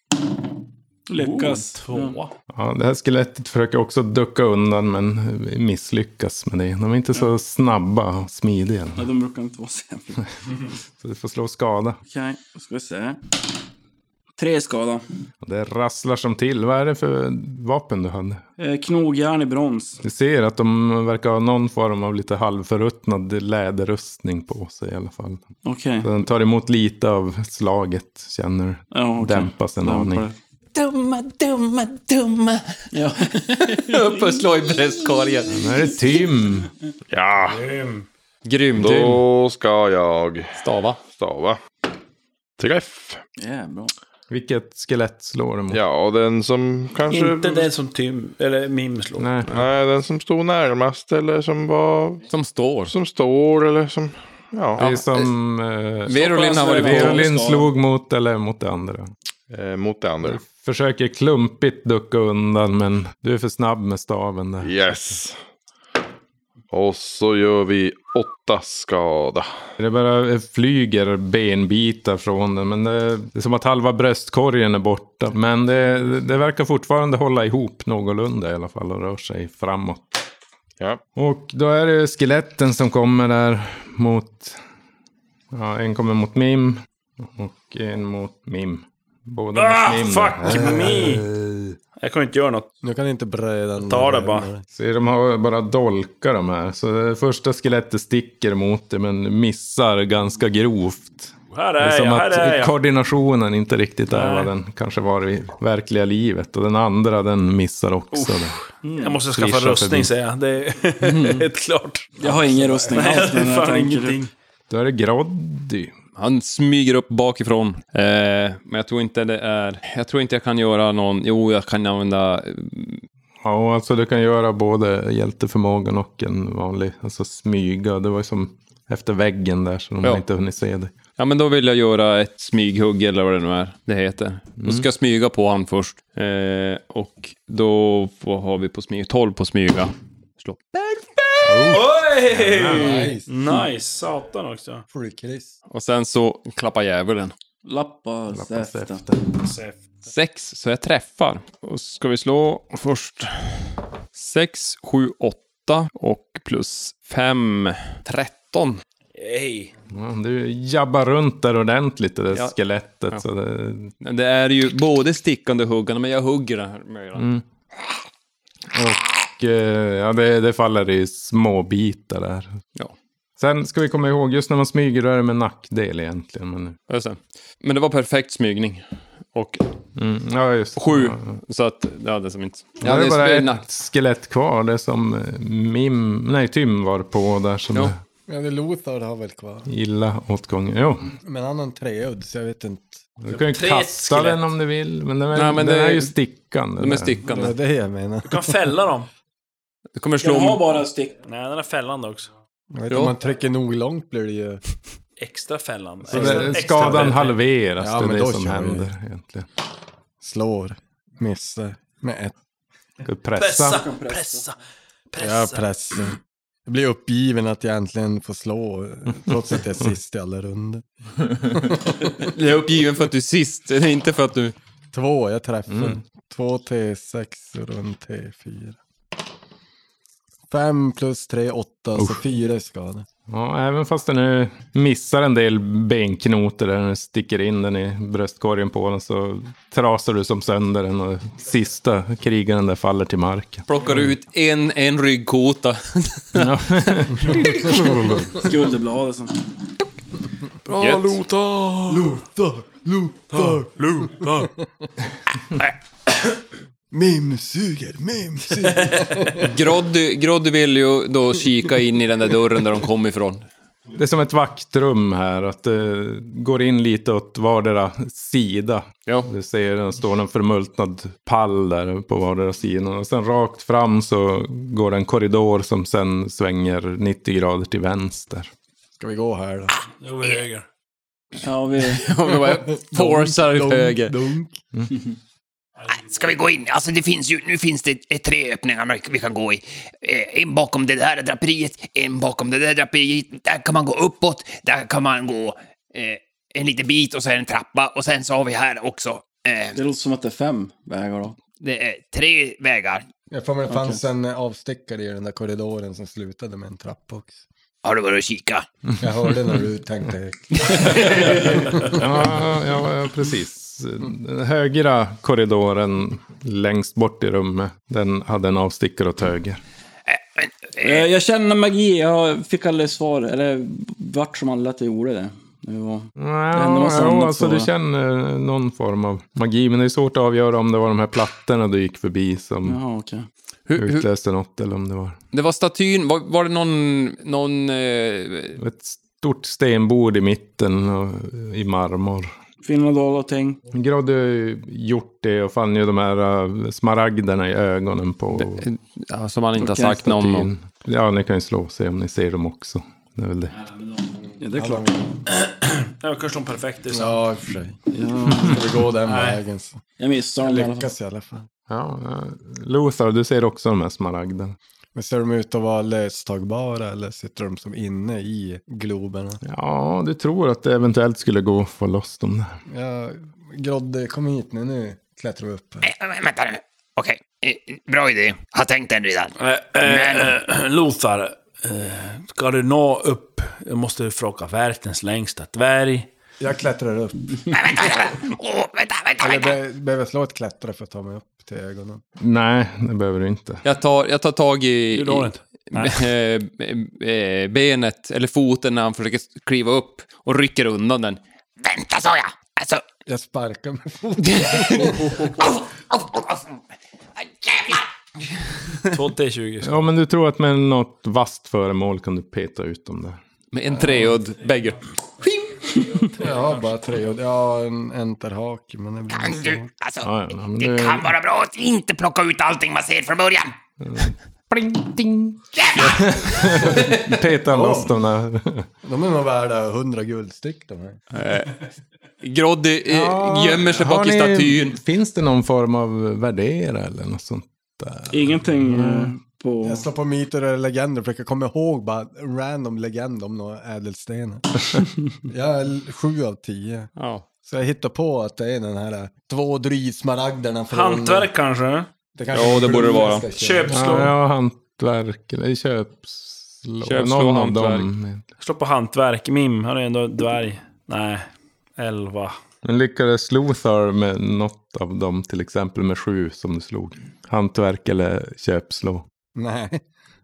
Speaker 9: Lyckas.
Speaker 4: Två.
Speaker 5: Ja, det här skelettet försöker också ducka undan men misslyckas med det. De är inte så snabba och smidiga.
Speaker 9: Ja, de brukar inte vara så jävla...
Speaker 5: Så du får slå skada.
Speaker 9: Okej, då ska vi se. Tre skada.
Speaker 5: Och Det rasslar som till. Vad är det för vapen du hade?
Speaker 9: Eh, knogjärn i brons.
Speaker 5: Du ser att de verkar ha någon form av lite halvförruttnad läderrustning på sig i alla fall.
Speaker 9: Okej.
Speaker 5: Så Den tar emot lite av slaget, känner du.
Speaker 9: Ja, okej.
Speaker 5: Dämpas en aning.
Speaker 8: Dumma, dumma, dumma.
Speaker 9: Ja.
Speaker 8: Upp och slå i bröstkorgen.
Speaker 5: Nu är det Tim.
Speaker 11: Ja,
Speaker 8: Grym, grym.
Speaker 11: då ska jag
Speaker 8: Stava.
Speaker 11: stava. Träff.
Speaker 9: Jävlar.
Speaker 5: Vilket skelett slår du mot?
Speaker 11: Ja, och den som
Speaker 5: Alltså,
Speaker 11: kanske...
Speaker 4: Inte den som Tim, eller Mim slår.
Speaker 5: Nej.
Speaker 11: Nej, den som stod närmast eller som var...
Speaker 8: Som står.
Speaker 11: Som står eller som...
Speaker 5: Det
Speaker 11: Ja.
Speaker 5: är som... Eh,
Speaker 8: Verolin har varit på.
Speaker 5: Verolin slog mot, eller mot det andra.
Speaker 11: Eh, mot det andra.
Speaker 5: Försöker klumpigt ducka undan men du är för snabb med staven där.
Speaker 11: Yes. Och så gör vi åtta skada.
Speaker 5: Det bara eh, flyger benbitar från den. Men det det är som att halva bröstkorgen är borta. Men det, det verkar fortfarande hålla ihop någorlunda i alla fall och rör sig framåt.
Speaker 11: Ja.
Speaker 5: Och då är det skeletten som kommer där mot... Ja, en kommer mot Mim och en mot Mim. Båda
Speaker 4: Ah,
Speaker 5: mot Mim. Eh,
Speaker 4: fuck me!
Speaker 5: Jag kan inte göra något.
Speaker 7: Nu kan inte bräda
Speaker 4: Ta det bara.
Speaker 5: Se, de har bara dolkar de här. Så det första skelettet sticker mot det men missar ganska grovt.
Speaker 4: Här
Speaker 5: det
Speaker 4: är
Speaker 5: som
Speaker 4: jag,
Speaker 5: att
Speaker 4: här är jag.
Speaker 5: koordinationen inte riktigt är
Speaker 4: Nej.
Speaker 5: vad den kanske var i verkliga livet. Och den andra den missar också. Den
Speaker 4: Jag måste skaffa
Speaker 5: svischar
Speaker 4: rustning
Speaker 5: förbi.
Speaker 4: säger jag. Det är
Speaker 5: Mm.
Speaker 4: helt klart.
Speaker 9: Jag har ingen rustning
Speaker 4: Nej,
Speaker 9: alls,
Speaker 4: det
Speaker 9: men
Speaker 4: är
Speaker 9: jag
Speaker 4: fan
Speaker 9: tänker-
Speaker 4: ingenting.
Speaker 5: Då är det Groddy.
Speaker 8: Han smyger upp bakifrån. Eh, men jag tror inte det är... Jag tror inte jag kan göra någon... Jo, jag kan använda...
Speaker 5: Ja, alltså du kan göra både hjälteförmågan och en vanlig, alltså smyga. Det var ju som efter väggen där så de
Speaker 8: Ja.
Speaker 5: har inte hunnit se dig.
Speaker 8: Ja, men då vill jag göra ett smyghugg eller vad det nu är det heter. Då ska
Speaker 5: Mm.
Speaker 8: jag smyga på han först. Eh, och då får, har vi på smyga... 12 på smyga. Slå.
Speaker 4: Oj!
Speaker 8: Nice.
Speaker 4: Nice.
Speaker 5: Mm.
Speaker 4: Satan också.
Speaker 7: Freakris.
Speaker 8: Och sen så klappar djävulen.
Speaker 9: Lappa säften.
Speaker 8: Sex, så jag träffar. Och så ska vi slå först. Sex, sju, åtta och plus fem, tretton.
Speaker 4: Hej.
Speaker 5: Ja, du jabbar runt där ordentligt, det där
Speaker 8: Ja.
Speaker 5: skelettet.
Speaker 8: Ja.
Speaker 5: Så det...
Speaker 8: Det är ju både stickande och huggande, men jag hugger den här möran.
Speaker 5: Mm. Och eh, ja, det, det faller i små bitar där.
Speaker 8: Ja.
Speaker 5: Sen ska vi komma ihåg, just när man smyger då är det med nackdel egentligen. Men...
Speaker 8: Just det. Men det var perfekt smygning. Och
Speaker 5: Mm, ja, just.
Speaker 8: sju, så att... Ja, det är som inte...
Speaker 5: Ja, det är bara
Speaker 8: spelar-
Speaker 5: ett skelett kvar, det som eh, Mim, nej, Tim var på där som
Speaker 7: Ja. Ja, det Lothar har väl kvar.
Speaker 5: illa åtgången. Jo,
Speaker 7: Men han har en treudd, så jag vet inte.
Speaker 5: Du kan ju Tre kasta skelett. den om du vill, men den är-
Speaker 7: Nej,
Speaker 5: men den det- är ju stickande de är där. stickande.
Speaker 7: Det är det jag menar.
Speaker 4: Du kan fälla dem.
Speaker 8: Det kommer
Speaker 7: slå- Den har bara
Speaker 4: stick. Nej, den är fällande också.
Speaker 7: Jag vet, inte, om man trycker nog långt blir det ju...
Speaker 4: Extra fällande.
Speaker 5: så
Speaker 4: Extra-
Speaker 5: det,
Speaker 4: extra
Speaker 5: skadan
Speaker 4: fällande.
Speaker 5: halveras,
Speaker 7: Ja,
Speaker 5: det
Speaker 7: men
Speaker 5: är det
Speaker 7: då
Speaker 5: som
Speaker 7: kör vi.
Speaker 5: händer egentligen.
Speaker 7: Slår. Missar. Med ett.
Speaker 5: Du pressar.
Speaker 4: Pressa, pressa, pressa.
Speaker 7: Jag pressar. Jag blir uppgiven att jag äntligen får slå, trots att jag är sist i alla runder.
Speaker 8: Jag är uppgiven för att du är sist, eller inte för att du...
Speaker 7: Två, jag träffar.
Speaker 8: Mm.
Speaker 7: Två T6 och en T4. Fem plus tre, åtta, så fyra i skada.
Speaker 5: Ja, även fast den nu missar en del benknotor där den sticker in den i bröstkorgen på den så trasar du som sönder den och sista krigaren där faller till marken.
Speaker 8: Plockar ut en, en ryggkota.
Speaker 9: Skulderbladet som...
Speaker 8: Bra, Gött.
Speaker 9: Lothar! Lothar!
Speaker 7: Lothar!
Speaker 9: Lothar!
Speaker 7: Mim suger, mim suger.
Speaker 8: Groddy, Groddy vill ju då kika in i den där dörren där de kom ifrån.
Speaker 5: Det är som ett vaktrum här, att det går in lite åt vardera sida.
Speaker 8: Ja.
Speaker 5: Du ser, det står en förmultnad pall där på vardera sidan. Och sen rakt fram så går det en korridor som sen svänger 90 grader till vänster.
Speaker 7: Ska vi gå här då?
Speaker 4: Nu går vi höger.
Speaker 9: Ja, vi...
Speaker 8: Om vi bara forcar
Speaker 9: Dunk, dunk,
Speaker 8: höger.
Speaker 10: Ska vi gå in? Alltså det finns ju, nu finns det eh, tre öppningar man- vi kan gå i. Eh, En bakom det där draperiet, en bakom det där draperiet. Där kan man gå uppåt, där kan man gå eh, en liten bit och så är det en trappa och sen så har vi här också. Eh,
Speaker 9: Det låter som att det är fem vägar då.
Speaker 10: det är tre vägar.
Speaker 7: Jag får mig det fanns en eh, avstickare i den där korridoren som slutade med en trappa också.
Speaker 10: Har du varit och kika?
Speaker 7: Jag hörde när du tänkte...
Speaker 5: ja, ja, ja, precis. Den högra korridoren längst bort i rummet, den hade en avstickare åt höger.
Speaker 9: Eh, Jag känner magi, jag fick aldrig svar, eller vart som alla att jag gjorde det. Det var...
Speaker 5: Mm.
Speaker 9: det hände
Speaker 5: Ja,
Speaker 9: massa
Speaker 5: ja
Speaker 9: annat
Speaker 5: alltså
Speaker 9: så-
Speaker 5: du känner någon form av magi, men det är svårt att avgöra om det var de här plattorna du gick förbi som
Speaker 9: Jaha, okej.
Speaker 5: utlöste något eller om det var
Speaker 8: Det var statyn, var, var det någon... någon eh,
Speaker 5: ett stort stenbord i mitten och, i marmor.
Speaker 9: Finland och alla ting.
Speaker 5: Groddy har ju gjort det och fann ju de här äh, smaragderna i ögonen på...
Speaker 8: som han inte har sagt någon om.
Speaker 5: Ja, ni kan ju slå och se om ni ser dem också. Det är väl det.
Speaker 9: Ja, det är klart.
Speaker 4: Ja, kanske de perfekta. så.
Speaker 7: Ja, i och för sig.
Speaker 9: Ja.
Speaker 7: Ska vi gå den
Speaker 4: Nej.
Speaker 7: vägen så.
Speaker 9: Jag missar dem i alla fall.
Speaker 7: Lyckas i alla fall.
Speaker 5: Ja, eh, Lothar, du ser också de här smaragderna.
Speaker 7: Men ser de ut att vara löstagbara eller sitter de som inne i globerna?
Speaker 5: Ja, du tror att det eventuellt skulle gå att få loss dem där.
Speaker 7: Ja, Grodde, kom hit nu, nu klättrar vi upp.
Speaker 10: Nej, men vänta nu. Okej, eh, bra idé. Har tänkt den redan.
Speaker 4: Eh, eh, eh, Lothar, eh, ska du nå upp? Jag måste fråga världens längsta dvärg.
Speaker 7: Jag klättrar upp.
Speaker 10: Åh, vänta, vänta,
Speaker 7: Eller
Speaker 10: vänta.
Speaker 7: be, behöver jag slå ett klättra för att ta mig upp till ögonen?
Speaker 5: Nej, det behöver du inte.
Speaker 8: Jag tar, jag tar tag i,
Speaker 4: Gjorde hon
Speaker 8: i
Speaker 4: inte?
Speaker 8: eh, eh, benet, eller foten, när han försöker kliva upp och rycker undan den.
Speaker 10: Vänta, sa jag. Alltså,
Speaker 7: Jag sparkar med foten.
Speaker 10: aj, jävlar.
Speaker 4: 2T20.
Speaker 5: Ja, men du tror att med något vasst föremål kan du peta ut dem där.
Speaker 8: Med en treöd bägge.
Speaker 7: Jag har bara tre och ja, en enterhake. Men det blir
Speaker 10: Kan
Speaker 7: så.
Speaker 10: du, alltså,
Speaker 5: Ja, ja, men
Speaker 10: det
Speaker 5: det-
Speaker 10: kan vara bra att inte plocka ut allting man ser från början.
Speaker 5: Pling, ding. Peta loss dem där.
Speaker 7: De är nog värda hundra guldstyck de här.
Speaker 8: Groddy eh, gömmer sig
Speaker 5: Ah. Har
Speaker 8: bak i
Speaker 5: ni-
Speaker 8: statyn.
Speaker 5: Finns det någon form av värdera eller något sånt där?
Speaker 9: Ingenting eh, på...
Speaker 7: Jag slår på myter eller legender, försöker komma ihåg bara random legend om några ädelstenar. jag är sju av tio.
Speaker 8: Ja.
Speaker 7: Så jag hittar på att det är den här eh, två drysmaragderna från...
Speaker 4: Hantverk kanske?
Speaker 7: Det kanske
Speaker 8: Ja,
Speaker 7: är
Speaker 8: det borde det
Speaker 7: blod jag
Speaker 8: vara.
Speaker 7: ska köpa.
Speaker 4: Köpslå.
Speaker 5: Ja, ja, hantverk eller köpslå.
Speaker 8: Köpslå,
Speaker 5: någon av
Speaker 8: hantverk.
Speaker 5: dem.
Speaker 4: Slå på hantverk. Mim, har du ändå dvärg? Nej. 11.
Speaker 5: Men lyckades Lothar med något av dem, till exempel med sju som du slog? Hantverk eller köpslå?
Speaker 7: Nej,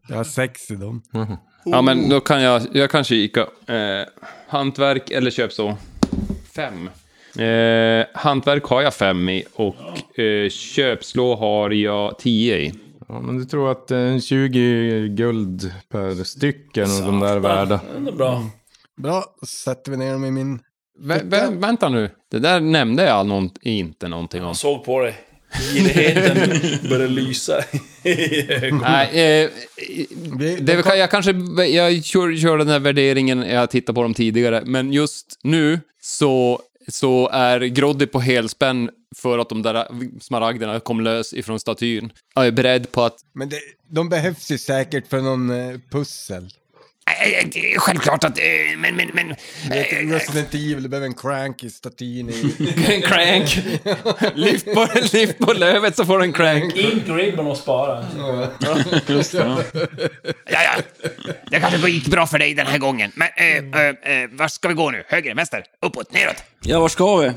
Speaker 7: jag har sex i dem.
Speaker 8: Ja, men då kan jag... Jag kan kika. Eh, hantverk eller köp så. Fem. Eh, hantverk har jag fem i och eh, köpslå har jag tio i.
Speaker 5: Ja, men du tror att eh, 20 guld per styck är nog de där värda.
Speaker 4: Det är bra.
Speaker 7: Bra, då sätter vi ner dem i min...
Speaker 8: Vä vä vänta nu. Det där nämnde jag någon, inte någonting om.
Speaker 4: Såg på dig. Girigheten började lysa.
Speaker 8: Nej, eh,
Speaker 7: Mm. Vi,
Speaker 8: det kan, jag kanske jag kör, kör den här värderingen jag tittade på dem tidigare, men just nu så, så är Groddy på helspänn för att de där smaragderna kom lös ifrån statyn. Jag är beredd på att...
Speaker 7: Men det, de behövs ju säkert för någon eh, pussel.
Speaker 10: Eh, eh, det är Självklart att... eh, Men, men, men...
Speaker 7: Vet du, Resident Evil, du behöver en crank i statyn i...
Speaker 10: äh,
Speaker 8: En crank! lyft, på, lyft på lövet så får du en crank.
Speaker 4: In ribban och spara.
Speaker 10: Ja, ja. Det kanske gick bra för dig den här gången. Men eh,
Speaker 8: Mm.
Speaker 10: eh, eh, vart ska vi gå nu? Höger, vänster, uppåt, neråt?
Speaker 9: Ja, var ska vi?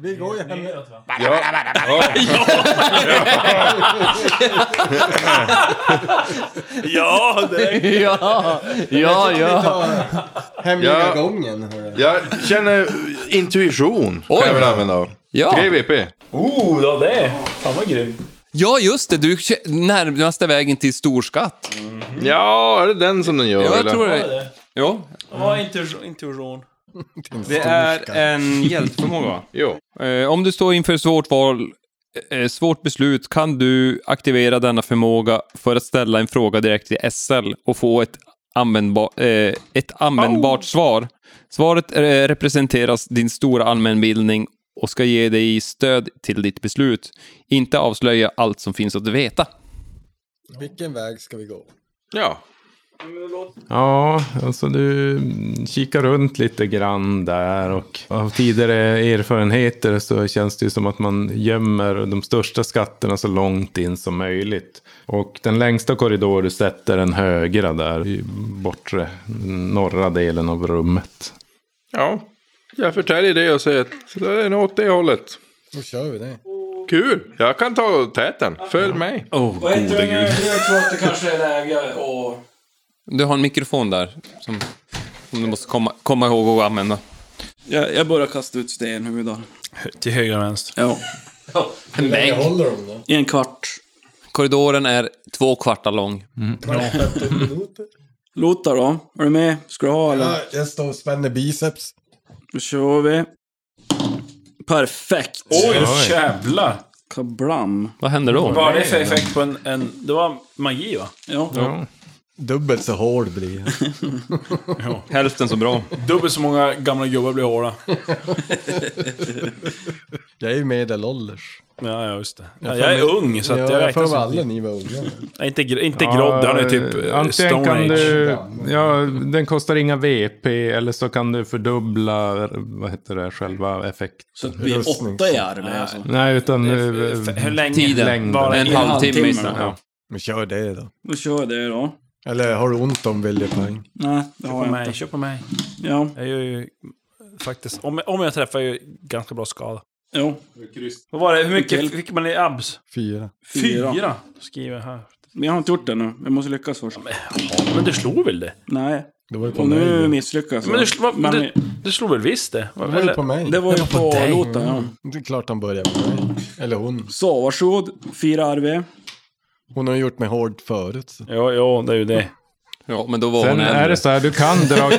Speaker 7: Vi går ju hem.
Speaker 10: Bara, bara, bara, bara.
Speaker 4: Ja, direkt.
Speaker 8: ja, ja, ja.
Speaker 7: Hemliga
Speaker 11: Ja.
Speaker 7: gången. hörru.
Speaker 11: Jag känner intuition.
Speaker 8: Oj.
Speaker 11: Kan jag väl använda av.
Speaker 8: Ja.
Speaker 11: 3 VP.
Speaker 4: Oh, det var det. Fan vad grymt.
Speaker 8: Ja, just det. Du kä- närmaste vägen till storskatt.
Speaker 11: Ja, är det den som den gör?
Speaker 8: Ja, jag
Speaker 11: eller?
Speaker 8: tror det. Ja.
Speaker 4: Ja, intu- intuition.
Speaker 8: Det är en hjälteförmåga, va?
Speaker 11: Jo.
Speaker 8: Eh, om du står inför ett svårt val, eh, svårt beslut, kan du aktivera denna förmåga för att ställa en fråga direkt till SL och få ett, användba eh, ett användbart svar. Svaret eh, representeras din stora allmänbildning och ska ge dig stöd till ditt beslut. Inte avslöja allt som finns att veta.
Speaker 7: Vilken väg ska vi gå?
Speaker 11: Ja.
Speaker 5: Ja, alltså du mm, kikar runt lite grann där och av tidigare erfarenheter så känns det ju som att man gömmer de största skatterna så långt in som möjligt. Och den längsta korridor du sätter den högra där i bortre norra delen av rummet.
Speaker 11: Ja. Jag förtäljer det och säger att så det är nog åt det hållet.
Speaker 7: Då kör vi det.
Speaker 11: Kul! Jag kan ta täten. Följ mig.
Speaker 8: Åh, gode gud.
Speaker 9: Jag tror att det kanske är läge och...
Speaker 8: Du har en mikrofon där som, som du måste komma, komma ihåg och använda.
Speaker 9: Jag, jag börjar kasta ut stenhudar.
Speaker 4: Till höger och vänster.
Speaker 9: Ja.
Speaker 8: En
Speaker 7: Jag
Speaker 8: bänk.
Speaker 7: håller dem då.
Speaker 9: I en kvart.
Speaker 8: Korridoren är två kvartar lång.
Speaker 7: Mm.
Speaker 9: Lothar då? Är du med? Ska du ha eller?
Speaker 7: Ja, jag står och spänner biceps.
Speaker 9: Då kör vi. Perfekt!
Speaker 4: Oj, jävlar.
Speaker 9: Kablam!
Speaker 8: Vad händer då?
Speaker 4: Vad var det för effekt på en... en det var magi, va?
Speaker 9: Ja.
Speaker 5: Ja.
Speaker 7: Dubbelt så hård blir jag.
Speaker 8: Hälften så bra.
Speaker 6: Dubbelt så många gamla gubbar blir hårda.
Speaker 7: Jag är ju medelålders.
Speaker 4: Ja, ja, just det. Ja, jag är ung, så att
Speaker 7: ja,
Speaker 4: jag
Speaker 7: jag
Speaker 4: räknar
Speaker 7: får väl
Speaker 4: som-
Speaker 7: alla ni var unga.
Speaker 4: Nej, Inte, gr- inte grodd, han är typ eh,
Speaker 5: antingen
Speaker 4: Stone
Speaker 5: kan
Speaker 4: Age.
Speaker 5: Du, ja, den kostar inga VP eller så kan du fördubbla vad heter det, själva effekt.
Speaker 9: Så det blir åtta i arm.
Speaker 4: Nej. eh,
Speaker 9: Alltså.
Speaker 5: Nej, utan...
Speaker 4: f- hur länge?
Speaker 5: eh, Tiden.
Speaker 4: Längden. Bara
Speaker 8: en
Speaker 4: en
Speaker 8: halvtimme.
Speaker 9: halvtimme.
Speaker 8: istället. Ja.
Speaker 7: Men kör det då.
Speaker 9: Då kör jag det då.
Speaker 7: Eller har du ont om viljepoäng?
Speaker 9: Nej, det
Speaker 4: Kör
Speaker 9: har
Speaker 4: på
Speaker 9: jag
Speaker 4: mig,
Speaker 9: inte.
Speaker 4: kör på mig.
Speaker 9: Ja,
Speaker 4: Jag gör ju faktiskt... Om, om jag träffar är jag ju ganska bra skada.
Speaker 9: jo.
Speaker 4: Vad var det? Hur
Speaker 9: Mikael.
Speaker 4: mycket fick man i abs?
Speaker 7: Fyra.
Speaker 9: Fyra.
Speaker 4: Fyra, skriver jag här.
Speaker 9: Men jag har inte gjort det nu. Jag måste lyckas först.
Speaker 4: Men du slog väl det?
Speaker 9: Nej.
Speaker 7: Det var ju på
Speaker 9: Och
Speaker 7: mig.
Speaker 9: nu
Speaker 7: det.
Speaker 9: misslyckas jag.
Speaker 4: Men du, sl- vad-
Speaker 9: Men-
Speaker 4: du, du slog väl visst det?
Speaker 7: Det var ju på mig.
Speaker 9: Det var ju på Lotan, ja.
Speaker 4: Mm.
Speaker 7: Det är klart han börjar med mig. Eller hon.
Speaker 9: Så, varsågod. Fyra arv.
Speaker 7: Hon har gjort mig hård förut. så.
Speaker 4: Ja, ja, det är ju
Speaker 9: Eh,
Speaker 4: det.
Speaker 8: Ja, men då var
Speaker 5: Sen
Speaker 8: hon
Speaker 5: är
Speaker 8: äldre.
Speaker 5: det så här, du kan dra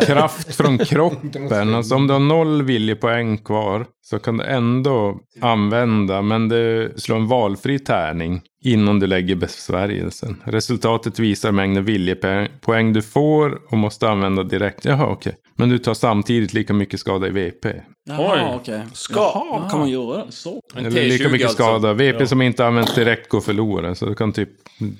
Speaker 5: kraft från kroppen. Alltså om du har noll viljepoäng kvar så kan du ändå använda, men du slår en valfri tärning innan du lägger besvärjelsen. Resultatet visar mängden viljepoäng du får och måste använda direkt. Jaha, okej. Men du tar samtidigt lika mycket skada i VP.
Speaker 9: Jaha, okej. Jaha, kan man göra så?
Speaker 5: Eller lika mycket
Speaker 8: alltså.
Speaker 5: skada. VP som inte används direkt går förlorad. Så du kan typ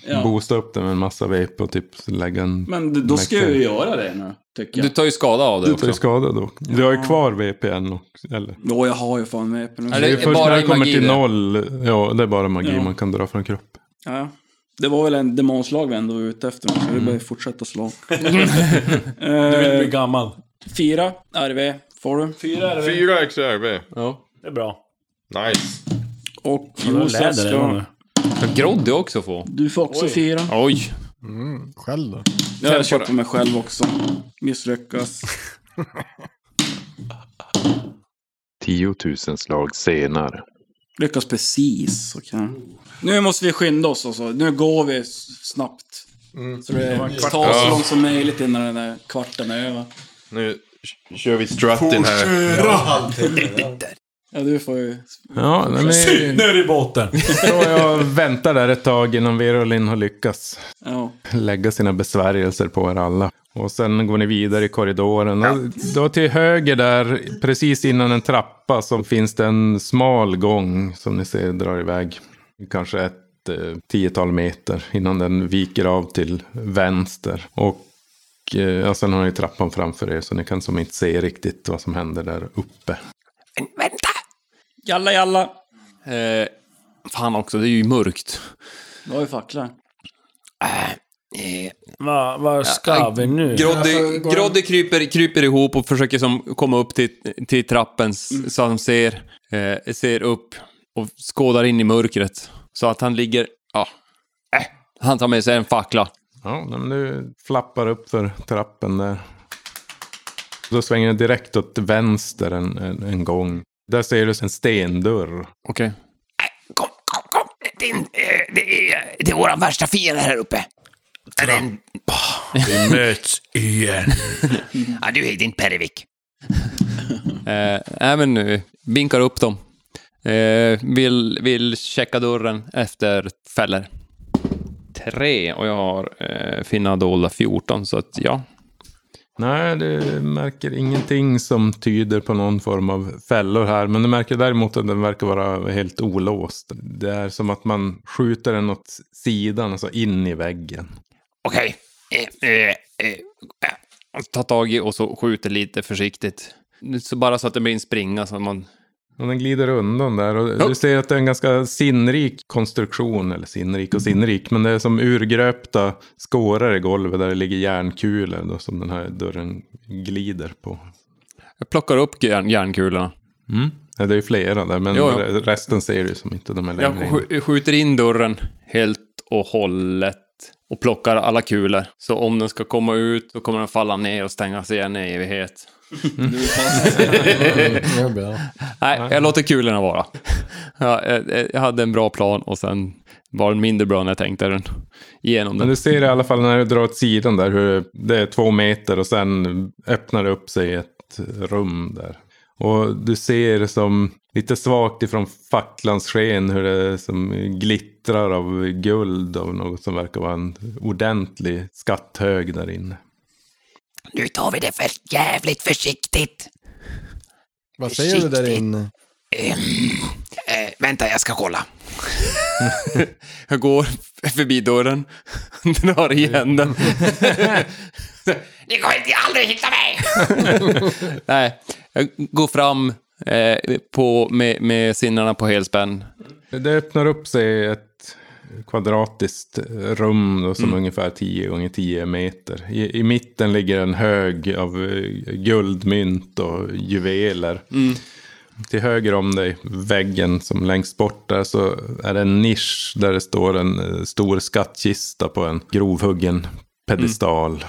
Speaker 9: Ja.
Speaker 5: boosta upp den med en massa VP och typ lägga en...
Speaker 9: Men d- då ska jag ju göra det nu, tycker
Speaker 8: Du
Speaker 9: jag.
Speaker 8: tar ju skada av det
Speaker 5: Du tar ju
Speaker 8: också.
Speaker 5: skada då. Du har ju kvar VP än också, eller?
Speaker 9: Åh, jag har ju fan med på nu.
Speaker 8: Är
Speaker 5: Det är
Speaker 8: Det
Speaker 5: först
Speaker 8: bara
Speaker 5: när det kommer
Speaker 8: magi
Speaker 5: till
Speaker 8: det.
Speaker 5: noll. Ja, det är bara magi
Speaker 9: Ja.
Speaker 5: man kan dra från kroppen.
Speaker 9: Ja, ja. det var väl en demonslag vi ändå var ute efter, så det börjar fortsätta slå.
Speaker 4: Du vill bli
Speaker 9: eh,
Speaker 4: gammal.
Speaker 9: fyra RV får du.
Speaker 4: Fyra är det.
Speaker 11: Fyra XRV.
Speaker 4: Det är bra.
Speaker 11: Nice.
Speaker 9: Och
Speaker 4: Ja, det
Speaker 9: Josef
Speaker 4: läder är det
Speaker 9: ska...
Speaker 4: nu.
Speaker 8: Ska Groddy också få?
Speaker 9: Du får också fyra.
Speaker 8: Oj.
Speaker 7: Mm. Själv då?
Speaker 9: Ja, jag köper mig själv också. Misslyckas.
Speaker 12: 10 000 slag senare.
Speaker 9: Lyckas precis. okej. Nu måste vi skynda oss alltså. Nu går vi s- snabbt.
Speaker 7: Mm.
Speaker 9: Så det tar så långt som möjligt innan den där kvarten är över.
Speaker 11: Nu k- kör vi strutting här.
Speaker 9: Ja, du får ju...
Speaker 5: Ja, nej, men
Speaker 4: Nu är det i båten!
Speaker 5: så jag väntar där ett tag innan Verolin har lyckats
Speaker 9: Ja.
Speaker 5: lägga sina besvärjelser på er alla. Och sen går ni vidare i korridoren. Och Då till höger där, precis innan en trappa, så finns det en smal gång som ni ser drar iväg. Kanske ett eh, tiotal meter innan den viker av till vänster. Och eh, ja, sen har ni trappan framför er så ni kan som inte se riktigt vad som händer där uppe.
Speaker 10: Men vänta!
Speaker 9: Jalla, jalla!
Speaker 8: Eh, fan också, det är ju mörkt.
Speaker 9: Du har ju fackla.
Speaker 10: Eh,
Speaker 4: Vad vad ska vi nu?
Speaker 9: Alltså,
Speaker 8: Groddy, Groddy kryper, kryper ihop och försöker som komma upp till, till trappen s-
Speaker 9: Mm.
Speaker 8: så han ser, eh, ser upp och skådar in i mörkret. Så att han ligger... Ja. Äh, han tar med sig en fackla.
Speaker 5: Ja, nej, men du flappar upp för trappen där. Då svänger den direkt åt vänster en, en, en gång. Där ser du en stendörr.
Speaker 8: Okej.
Speaker 10: kom, kom, kom! Det är, en- eh, det är, det är våran värsta fiende här uppe. Den, den,
Speaker 4: Vi möts igen.
Speaker 10: ja, du är din Perivik.
Speaker 8: Eh, nej, men nu vinkar upp dem. Eh, vill, vill checka dörren efter fäller. Tre och jag har eh, finna dolda 14 så att ja.
Speaker 5: Nej, du märker ingenting som tyder på någon form av fällor här. Men du märker däremot att den verkar vara helt olåst. Det är som att man skjuter den åt sidan, alltså in i väggen.
Speaker 10: Okej. Eh, eh, eh, eh.
Speaker 8: Ta tag i och så skjuter lite försiktigt. Så bara så att det blir en springa så att man...
Speaker 5: Och den glider undan där. Och du ser att det är en ganska sinnrik konstruktion. Eller sinnrik och sinnrik. Men det är som urgröpta skårar i golvet där det ligger järnkulor. Då, som den här dörren glider på.
Speaker 8: Jag plockar upp järn, järnkulorna.
Speaker 5: Ja, det är ju flera där. Men
Speaker 8: Jo, ja.
Speaker 5: re- resten ser du som inte de är
Speaker 8: Jag
Speaker 5: längre in.
Speaker 8: sk- skjuter in dörren helt och hållet och plockar alla kulor. Så om den ska komma ut så kommer den falla ner och stängas igen i evighet.
Speaker 7: Det är bra.
Speaker 8: Nej, jag låter kulorna vara. Ja, eh, jag, jag hade en bra plan och sen var den mindre bra när jag tänkte den igenom
Speaker 5: Men
Speaker 8: den.
Speaker 5: du ser i alla fall när du drar åt sidan där. Hur det är två meter och sen öppnar det upp sig ett rum där. Och du ser som lite svagt ifrån facklans sken hur det som glittrar av guld av något som verkar vara en ordentlig skatthög där inne.
Speaker 10: Nu tar vi det för jävligt försiktigt.
Speaker 7: Vad säger du där inne?
Speaker 10: Eh, vänta, jag ska kolla.
Speaker 8: Jag går förbi dörren, drar igen den.
Speaker 10: Ni kommer inte aldrig hitta mig!
Speaker 8: Nej, jag går fram eh, på, med, med sinnena på helspänn.
Speaker 5: Det öppnar upp sig ett kvadratiskt rum då, som
Speaker 8: Mm.
Speaker 5: ungefär 10 gånger 10 meter. I, I mitten ligger en hög av eh, guldmynt och juveler. Till höger om dig, väggen som längst bort där, så är det en nisch där det står en eh, stor skattkista på en grovhuggen pedestal.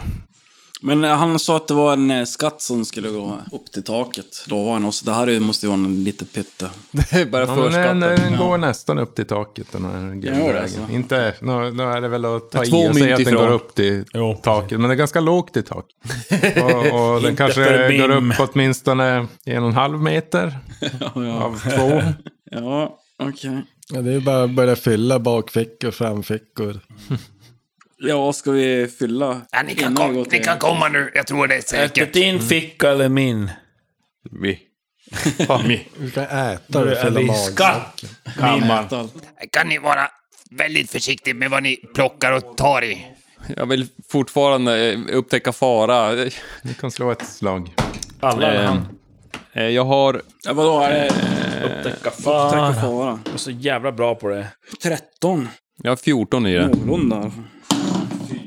Speaker 9: Men eh, han sa att det var en eh, skatt som skulle gå upp till taket, lovade han oss. Det här är ju- måste ju vara en liten pytte.
Speaker 8: Det är bara
Speaker 5: Ja, men den,
Speaker 10: eh,
Speaker 5: den
Speaker 9: Ja.
Speaker 5: går nästan upp till taket den här
Speaker 9: gör det
Speaker 5: guldvägen.
Speaker 9: alltså.
Speaker 5: Inte, nu, nu är det väl att ta
Speaker 8: Det är två
Speaker 5: i och säga
Speaker 8: mynt
Speaker 5: att den
Speaker 8: ifrån.
Speaker 5: går upp till taket. Men det är ganska lågt i tak. Och, och den
Speaker 8: Inte
Speaker 5: kanske
Speaker 8: för
Speaker 5: går
Speaker 8: bim.
Speaker 5: upp åtminstone en och en halv meter. Av två.
Speaker 9: ja, okej.
Speaker 7: Ja, det är bara att börja fylla bakfickor, framfickor.
Speaker 9: Ja, ska vi fylla?
Speaker 10: Ja, ni, kan
Speaker 9: Innan vi
Speaker 10: kom,
Speaker 9: går
Speaker 10: ni
Speaker 9: till-
Speaker 10: kan komma nu, jag tror det är
Speaker 4: Är det
Speaker 10: säkert.
Speaker 4: din ficka eller min?
Speaker 8: Vi.
Speaker 7: Vi kan äta
Speaker 4: Nu
Speaker 7: och
Speaker 4: är
Speaker 7: fylla
Speaker 4: vi i
Speaker 7: magen.
Speaker 4: skattkammaren.
Speaker 10: Kan ni vara väldigt försiktiga med vad ni plockar och tar i?
Speaker 8: Jag vill fortfarande eh, upptäcka fara.
Speaker 5: Ni kan slå ett slag.
Speaker 4: Alla
Speaker 8: Eh,
Speaker 4: han.
Speaker 8: eh, Jag har...
Speaker 9: Ja, vadå? Är det...
Speaker 4: Upptäcka
Speaker 10: Ah.
Speaker 9: Upptäcka
Speaker 4: fara.
Speaker 9: fara.
Speaker 4: Jag är så jävla bra på det.
Speaker 9: 13.
Speaker 8: Jag har 14 i det.
Speaker 9: Någorlunda.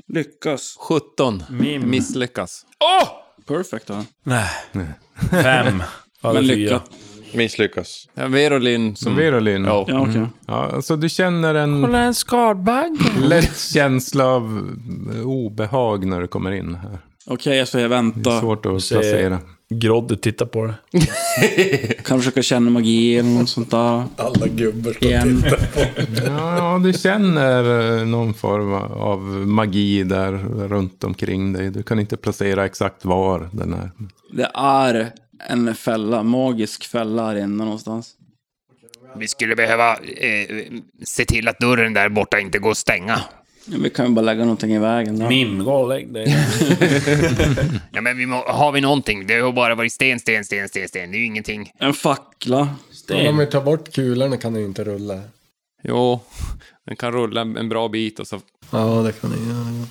Speaker 9: Lyckas.
Speaker 8: 17.
Speaker 4: Mim.
Speaker 8: Misslyckas.
Speaker 4: Åh!
Speaker 9: Perfect då.
Speaker 4: Nej. Fem.
Speaker 9: Men lycka.
Speaker 11: Misslyckas.
Speaker 8: Ja, Verolin som...
Speaker 5: Verolin.
Speaker 8: Ja.
Speaker 9: Ja, okej.
Speaker 5: Ja, alltså du känner en
Speaker 4: Kolla en skadbagge.
Speaker 5: lätt känsla av obehag när du kommer in här.
Speaker 9: Okej, jag ska
Speaker 5: Det är
Speaker 9: vänta.
Speaker 5: svårt att placera.
Speaker 4: Grodde tittar på det.
Speaker 9: Kan försöka känna magi eller något sånt där.
Speaker 7: Alla gubbar står och
Speaker 9: Igen.
Speaker 7: tittar på.
Speaker 5: Ja, du känner eh, någon form av magi där runt omkring dig. Du kan inte placera exakt var den är.
Speaker 9: Det är en fälla. Magisk fälla här inne någonstans.
Speaker 10: Vi skulle behöva eh, se till att dörren där borta inte går att stänga.
Speaker 9: Ja, vi kan ju bara lägga någonting i vägen. Då.
Speaker 4: Mim, gå och lägg dig.
Speaker 10: Ja, men vi må, har vi någonting? Det har bara varit sten, sten, sten, sten, sten. Det är ju ingenting.
Speaker 9: En fackla.
Speaker 7: Om vi tar bort kulorna kan den ju inte rulla.
Speaker 8: Jo, den kan rulla en en bra bit och så...
Speaker 7: Ja, det kan den göra.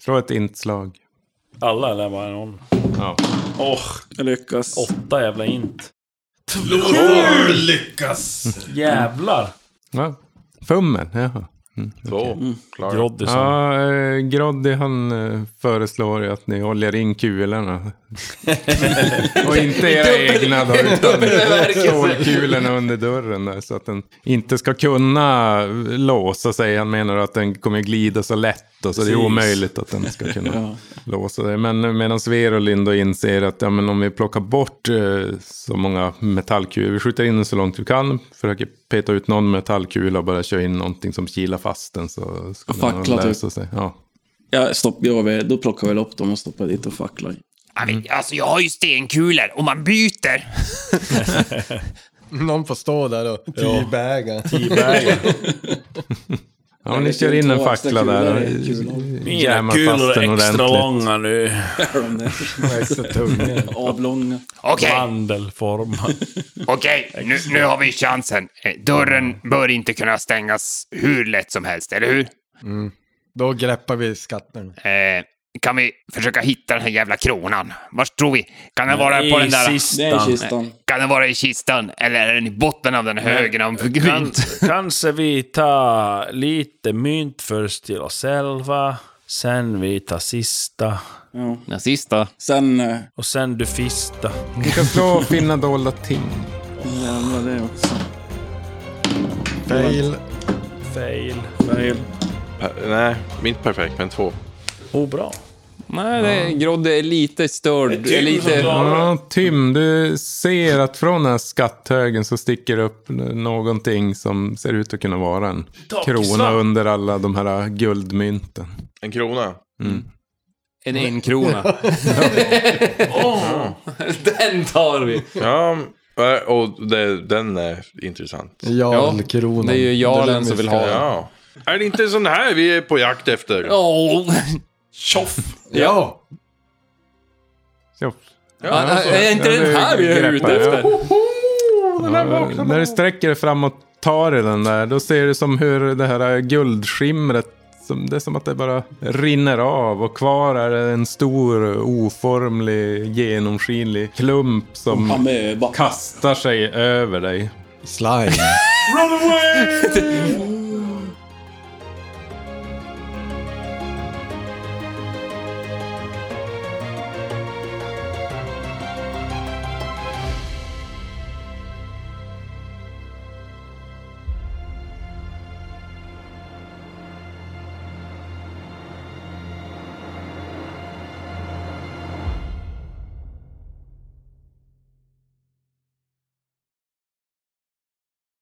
Speaker 5: Slå ett inslag.
Speaker 4: Alla eller bara någon?
Speaker 5: Ja.
Speaker 4: Åh,
Speaker 9: Jag lyckas.
Speaker 4: åtta jävla int. Sju lyckas! Jävlar!
Speaker 5: ja. Fummen, jaha. Mm.
Speaker 11: Två.
Speaker 4: Grodde som...
Speaker 5: Ja, eh, Groddy han eh, föreslår ju att ni håller in kulorna. Och inte era egna då, utan stålkulorna under dörren där. Så att den inte ska kunna låsa sig. Han menar att den kommer glida så lätt. Och så det är
Speaker 4: Precis.
Speaker 5: omöjligt att den ska kunna låsa sig. Men medan Verolin då inser att ja, men om vi plockar bort eh, så många metallkulor. Vi skjuter in den så långt vi kan. Försöker peta ut någon metallkula och bara köra in någonting som kilar fast den. Så ska den
Speaker 9: Fackla, typ.
Speaker 5: lösa sig. Ja.
Speaker 9: Ja, stopp, ja, vi- då plockar vi upp dem och stoppar dit en fackla i.
Speaker 10: Ja,
Speaker 9: Mm.
Speaker 10: vi- Alltså, jag har ju stenkulor. Om man byter.
Speaker 7: Någon får stå där och tibäga.
Speaker 5: Ja, men ni kör in en fackla där. och
Speaker 4: Mina
Speaker 5: Jammar fast
Speaker 4: kulor
Speaker 5: den
Speaker 4: är extra
Speaker 5: ordentligt.
Speaker 4: långa nu.
Speaker 9: Avlånga.
Speaker 10: Okej,
Speaker 4: Mandelformad.
Speaker 10: okej. Nu, nu har vi chansen. Eh, Dörren bör inte kunna stängas hur lätt som helst, eller hur?
Speaker 7: Då greppar vi skatten.
Speaker 10: Eh, kan vi försöka hitta den här jävla kronan? Var tror vi? Kan den vara
Speaker 4: I
Speaker 10: på den där...
Speaker 9: Det är en
Speaker 4: kistan.
Speaker 9: kistan.
Speaker 10: Kan den vara i kistan? Eller är den i botten av den högen av
Speaker 4: Kan,
Speaker 10: grynt?
Speaker 4: kanske vi tar lite mynt först till oss själva. Sen vi tar sista.
Speaker 9: Ja.
Speaker 8: Den sista.
Speaker 9: Sen... eh,
Speaker 4: Och sen du fista.
Speaker 5: Ni kan slå och finna dolda ting.
Speaker 9: Jävlar det också.
Speaker 7: Fail.
Speaker 4: Fail.
Speaker 9: Fail.
Speaker 11: Per- nej, inte perfekt, men två.
Speaker 4: Oh, bra.
Speaker 8: Nej, det, Grodde är lite störd. Är lite...
Speaker 5: Ja, Tim, du ser att från den här skatthögen så sticker upp någonting som ser ut att kunna vara en krona under alla de här guldmynten.
Speaker 11: En krona.
Speaker 8: En enkrona. Den tar vi!
Speaker 11: Ja, Ja, Och det, den är intressant.
Speaker 7: Jarlkronan.
Speaker 8: det är ju jarlen som vill ha den.
Speaker 11: Ja. Är det inte sån här vi är på jakt efter?
Speaker 8: Åh, tjoff!
Speaker 7: Ja.
Speaker 8: Ja, är inte den här vi är ute efter?
Speaker 5: Ja, när du sträcker dig fram och tar i den där, då ser du som hur det här guldskimret, som, det är som att det bara rinner av och kvar är det en stor oformlig genomskinlig klump som kastar sig över dig.
Speaker 7: Slime.
Speaker 4: Run away!